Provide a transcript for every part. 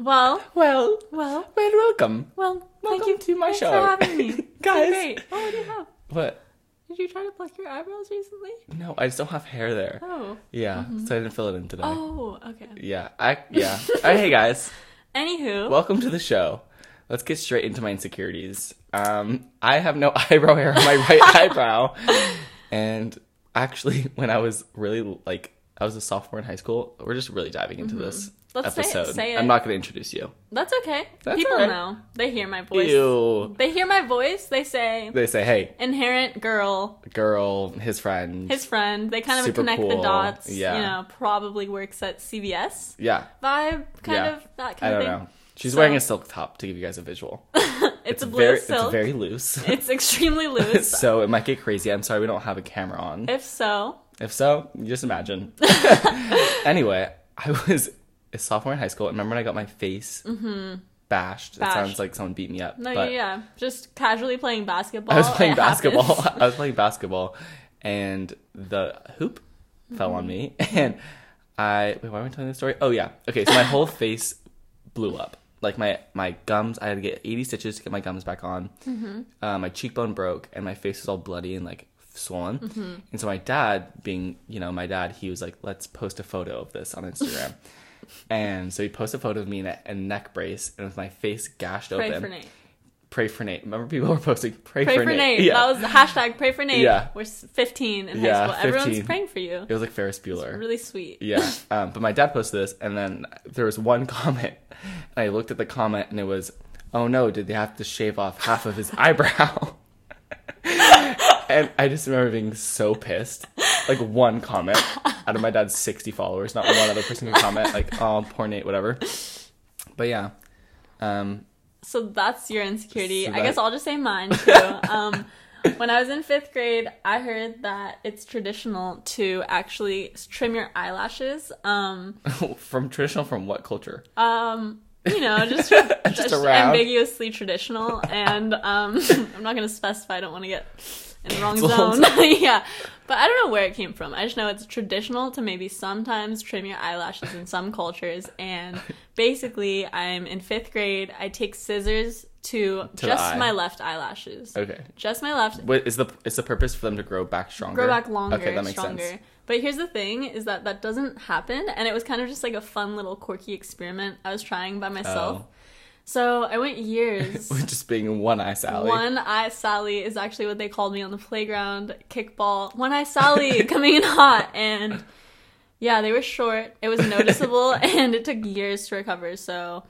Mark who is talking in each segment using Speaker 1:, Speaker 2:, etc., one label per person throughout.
Speaker 1: Well,
Speaker 2: Well,
Speaker 1: well,
Speaker 2: well, welcome.
Speaker 1: well.
Speaker 2: Welcome
Speaker 1: thank you
Speaker 2: to my
Speaker 1: thanks
Speaker 2: show.
Speaker 1: for having me. It's been
Speaker 2: Guys.
Speaker 1: great. Oh, what do you have?
Speaker 2: What?
Speaker 1: Did you try to pluck your eyebrows recently?
Speaker 2: No, I still have hair there.
Speaker 1: Oh.
Speaker 2: Yeah, so I didn't fill it in today.
Speaker 1: Oh, okay.
Speaker 2: Yeah, I yeah. All right, hey guys,
Speaker 1: Anywho,
Speaker 2: welcome to the show. Let's get straight into my insecurities. Um, I have no eyebrow hair on my right eyebrow, and actually, when I was really like, I was a sophomore in high school. We're just really diving into this
Speaker 1: Mm-hmm. Let's say it,
Speaker 2: episode.
Speaker 1: say it.
Speaker 2: I'm not going to introduce you.
Speaker 1: that's okay.
Speaker 2: That's
Speaker 1: People
Speaker 2: alright.
Speaker 1: know. They hear my voice.
Speaker 2: Ew.
Speaker 1: They hear my voice. They say,
Speaker 2: They say, "Hey,
Speaker 1: inherent girl,
Speaker 2: girl, his friend."
Speaker 1: his friend. They kind of
Speaker 2: Super
Speaker 1: connect the
Speaker 2: cool.
Speaker 1: dots.
Speaker 2: Yeah.
Speaker 1: You know, probably works at CVS
Speaker 2: yeah,
Speaker 1: vibe, kind
Speaker 2: Yeah.
Speaker 1: of, that
Speaker 2: I
Speaker 1: kind
Speaker 2: don't
Speaker 1: of thing.
Speaker 2: know. She's
Speaker 1: So-
Speaker 2: wearing a silk top to give you guys a visual.
Speaker 1: It's, a blue
Speaker 2: very,
Speaker 1: silk.
Speaker 2: It's very loose.
Speaker 1: It's extremely loose.
Speaker 2: so it might get crazy. I'm sorry we don't have a camera on.
Speaker 1: if so,
Speaker 2: If so, you just imagine. anyway, I was a sophomore in high school. and Remember when I got my face bashed? It
Speaker 1: Mm-hmm. Bashed.
Speaker 2: sounds like someone beat me up.
Speaker 1: no,
Speaker 2: but
Speaker 1: yeah, just casually playing basketball.
Speaker 2: I was playing
Speaker 1: it
Speaker 2: basketball.
Speaker 1: happens.
Speaker 2: I was playing basketball, and the hoop fell on me.
Speaker 1: Mm-hmm.
Speaker 2: And I wait, why am I telling this story? Oh yeah, okay. So my whole face blew up. Like my my gums, I had to get eighty stitches to get my gums back on.
Speaker 1: Mm-hmm.
Speaker 2: Uh, my cheekbone broke, and my face was all bloody and like swollen.
Speaker 1: Mm-hmm.
Speaker 2: And so my dad, being you know my dad, he was like, "Let's post a photo of this on Instagram." and so he posted a photo of me in a, a neck brace and with my face gashed
Speaker 1: Pray
Speaker 2: open.
Speaker 1: for Nate.
Speaker 2: Pray for Nate. Remember people were posting pray,
Speaker 1: Pray for Nate.
Speaker 2: Yeah.
Speaker 1: That was the hashtag pray for Nate.
Speaker 2: Yeah.
Speaker 1: We're s- 15 in high
Speaker 2: Yeah,
Speaker 1: school. Everyone's
Speaker 2: 15.
Speaker 1: praying for you.
Speaker 2: It was like Ferris Bueller.
Speaker 1: Really sweet.
Speaker 2: yeah. Um, but my dad posted this, and then there was one comment, and I looked at the comment, and it was, "Oh no, did they have to shave off half of his eyebrow?" and I just remember being so pissed. Like one comment out of my dad's sixty followers, not one other person could comment. Like, "Oh, poor Nate," whatever. But yeah, um,
Speaker 1: So that's your insecurity.
Speaker 2: So
Speaker 1: I guess
Speaker 2: that-
Speaker 1: I'll just say mine too. um, when I was in fifth grade, I heard that it's traditional to actually trim your eyelashes. Um,
Speaker 2: from traditional from what culture?
Speaker 1: um, you know, just, just,
Speaker 2: around.
Speaker 1: ambiguously traditional. And um, I'm not going to specify. I don't want to get in the wrong
Speaker 2: Canceled.
Speaker 1: zone. yeah, but I don't know where it came from. I just know it's traditional to maybe sometimes trim your eyelashes in some cultures. And basically, I'm in fifth grade. I take scissors to,
Speaker 2: the
Speaker 1: just
Speaker 2: eye. Oh.
Speaker 1: my left eyelashes,
Speaker 2: Okay.
Speaker 1: just my left.
Speaker 2: What is the is the purpose for them to grow back stronger?
Speaker 1: Grow back longer,
Speaker 2: Okay, that makes
Speaker 1: stronger.
Speaker 2: sense.
Speaker 1: But here's the thing: is that that doesn't happen, and it was kind of just like a fun little quirky experiment I was trying by myself.
Speaker 2: Oh.
Speaker 1: So I went years.
Speaker 2: Just being one eye Sally.
Speaker 1: One Eye Sally is actually what they called me on the playground. Kickball. One Eye Sally coming in hot. And yeah, they were short. It was noticeable and it took years to recover. So,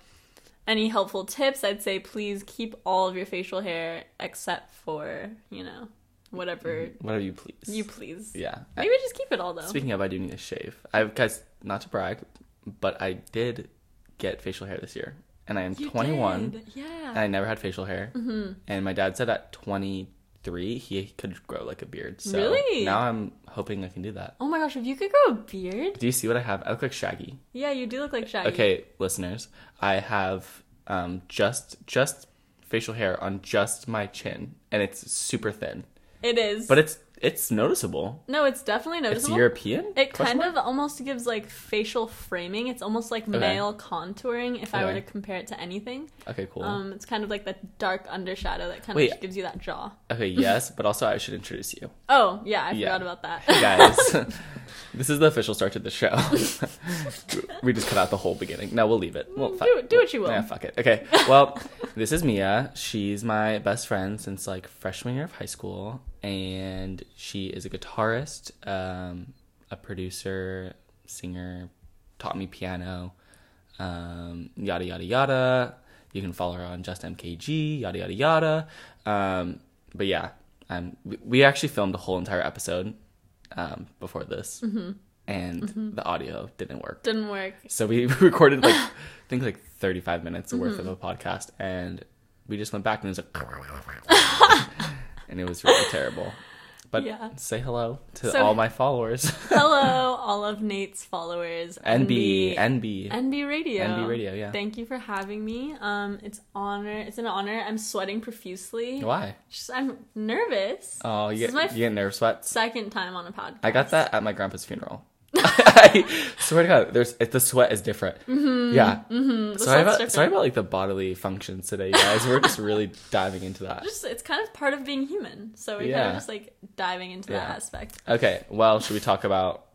Speaker 1: any helpful tips? I'd say please keep all of your facial hair except for, you know, whatever
Speaker 2: Whatever you please.
Speaker 1: you please.
Speaker 2: Mm-hmm. Yeah.
Speaker 1: Maybe just keep it all though.
Speaker 2: Speaking of, I do need a shave. I guys, not to brag, but I did get facial hair this year, and I am
Speaker 1: You
Speaker 2: 21,
Speaker 1: did, Mm-hmm.
Speaker 2: and
Speaker 1: Yeah.
Speaker 2: I never had facial hair. And my dad said at 23 he could grow like a beard. So
Speaker 1: Really?
Speaker 2: Now I'm hoping I can do that.
Speaker 1: Oh my gosh, if you could grow a beard?
Speaker 2: Do you see what I have? I look like Shaggy.
Speaker 1: Yeah, you do look like Shaggy.
Speaker 2: Okay, listeners, I have um just just facial hair on just my chin, and it's super thin,
Speaker 1: It is.
Speaker 2: but it's it's noticeable.
Speaker 1: no, it's definitely
Speaker 2: It's
Speaker 1: noticeable.
Speaker 2: European.
Speaker 1: It
Speaker 2: Question
Speaker 1: kind
Speaker 2: mark?
Speaker 1: of almost gives like facial framing. It's almost like male contouring if I were
Speaker 2: Okay.
Speaker 1: to compare it to anything.
Speaker 2: Okay, cool.
Speaker 1: Um, it's kind of like that dark undershadow that kind
Speaker 2: Wait.
Speaker 1: of gives you that jaw.
Speaker 2: Okay, yes, but also I should introduce you.
Speaker 1: Oh, yeah, I
Speaker 2: Yeah.
Speaker 1: forgot about that.
Speaker 2: Hey guys, this is the official start to the show. we just cut out the whole beginning. No, we'll leave it. Well,
Speaker 1: Mm,
Speaker 2: fuck-
Speaker 1: do- do what you will.
Speaker 2: Yeah, fuck it. Okay, well, this is Mia. She's my best friend since like freshman year of high school, and she is a guitarist, um, a producer, singer, taught me piano, um, yada yada yada. You can follow her on just MKG, yada yada yada. Um, but yeah, um, we, we actually filmed a whole entire episode um, before this,
Speaker 1: Mm-hmm.
Speaker 2: and the audio didn't work.
Speaker 1: Didn't work.
Speaker 2: So we recorded like I think like 35 minutes worth
Speaker 1: Mm-hmm.
Speaker 2: of a podcast, and we just went back and it was like, and it was really terrible. But
Speaker 1: Yeah.
Speaker 2: say hello to
Speaker 1: So-
Speaker 2: all my followers,
Speaker 1: Hello, all of Nate's followers.
Speaker 2: NB, NB,
Speaker 1: NB Radio.
Speaker 2: NB Radio, yeah.
Speaker 1: Thank you for having me. Um, it's honor. It's an honor. I'm sweating profusely.
Speaker 2: Why?
Speaker 1: Just, I'm nervous.
Speaker 2: Oh, you
Speaker 1: This is my
Speaker 2: get, you get nerve sweats.
Speaker 1: Second time on a podcast.
Speaker 2: I got that at my grandpa's funeral. I swear to God, there's it, the sweat is different. Yeah.
Speaker 1: Mm-hmm. the
Speaker 2: Sorry
Speaker 1: sweat's
Speaker 2: about
Speaker 1: different.
Speaker 2: sorry about like the bodily functions today, you guys. We're just really diving into that.
Speaker 1: Just it's kind of part of being human, so we're kind
Speaker 2: Yeah.
Speaker 1: of just like diving into that
Speaker 2: Yeah.
Speaker 1: aspect.
Speaker 2: Okay. Well, should we talk about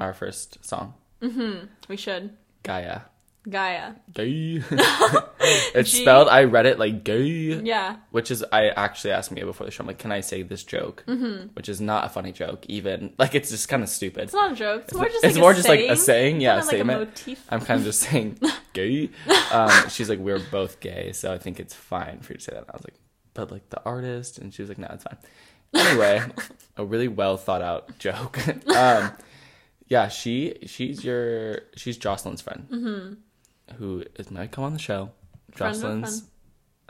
Speaker 2: our first song,
Speaker 1: We should
Speaker 2: Gaia?
Speaker 1: Gaia.
Speaker 2: Gay. it's
Speaker 1: G.
Speaker 2: spelled. I read it like gay,
Speaker 1: Yeah,
Speaker 2: which is I actually asked Mia before the show. I'm like, can I say this joke? Mm-hmm. Which is not a funny joke. Even like it's just kind of stupid.
Speaker 1: it's not a joke. It's more just
Speaker 2: it's
Speaker 1: like
Speaker 2: more
Speaker 1: a
Speaker 2: just
Speaker 1: saying.
Speaker 2: like a saying. Yeah,
Speaker 1: Kinda
Speaker 2: a statement.
Speaker 1: like a motif.
Speaker 2: I'm kind of just saying gay. Um, she's like, we're both gay, so I think it's fine for you to say that. And I was like, but like the artist, and she was like, no, it's fine. Anyway, a really well thought out joke. um, yeah, she she's your she's Jocelyn's friend, mm-hmm. is might come on the show.
Speaker 1: Friend of a
Speaker 2: Jocelyn's
Speaker 1: friend.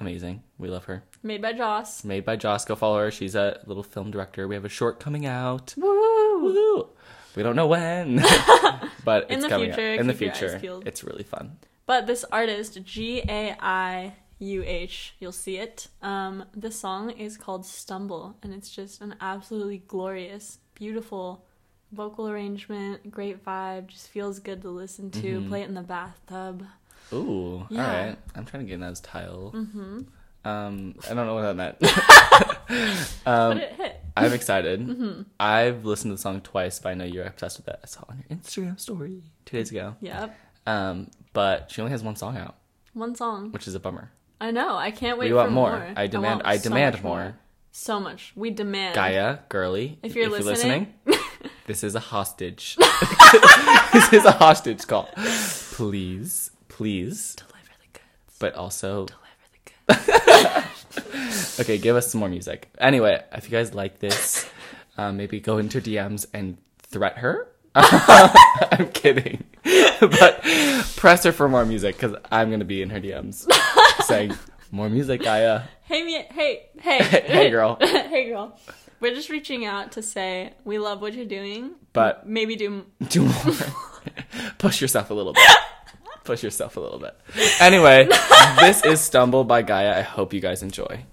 Speaker 2: amazing. We love her.
Speaker 1: Made by Joss.
Speaker 2: Made by Joss. Go follow her. She's a little film director. We have a short coming out.
Speaker 1: Woo!
Speaker 2: Woo! We don't know when, but
Speaker 1: In
Speaker 2: it's
Speaker 1: the
Speaker 2: coming out.
Speaker 1: future,
Speaker 2: in the
Speaker 1: keep your eyes
Speaker 2: future.
Speaker 1: peeled.
Speaker 2: It's really fun.
Speaker 1: But this artist, G A I U H, you'll see it. Um, this song is called Stumble, and it's just an absolutely glorious, beautiful vocal arrangement, great vibe, just feels good to listen to.
Speaker 2: Mm-hmm.
Speaker 1: Play it in the bathtub.
Speaker 2: Ooh,
Speaker 1: Yeah.
Speaker 2: all right. I'm trying to get in those tile. Mm-hmm. Um, I don't know what that meant.
Speaker 1: but
Speaker 2: Um,
Speaker 1: it hit.
Speaker 2: I'm excited.
Speaker 1: Mm-hmm.
Speaker 2: I've listened to the song twice, but I know you're obsessed with it. I saw it on your Instagram story two days ago.
Speaker 1: Yep.
Speaker 2: Um, but she only has one song out,
Speaker 1: One song.
Speaker 2: which is a bummer.
Speaker 1: I know. I can't wait
Speaker 2: we want
Speaker 1: for
Speaker 2: more.
Speaker 1: more.
Speaker 2: I demand.
Speaker 1: want
Speaker 2: I,
Speaker 1: so
Speaker 2: demand
Speaker 1: much
Speaker 2: more.
Speaker 1: So much. We demand.
Speaker 2: Gaia, girly.
Speaker 1: If you're listening-
Speaker 2: listening, this is a hostage. this is a hostage call. Please, please,
Speaker 1: Deliver the goods.
Speaker 2: but also
Speaker 1: Deliver the goods.
Speaker 2: Okay, give us some more music. Anyway, if you guys like this, um, maybe go into DMs and threat her. I'm kidding, but press her for more music because I'm gonna be in her DMs saying more music, Gaia.
Speaker 1: hey, me. Hey, hey,
Speaker 2: hey, girl.
Speaker 1: hey, girl. We're just reaching out to say we love what you're doing,
Speaker 2: But-
Speaker 1: maybe do
Speaker 2: Do more. Push yourself a little bit. Push yourself a little bit. Anyway, this is Stumble by Gaia. I hope you guys enjoy.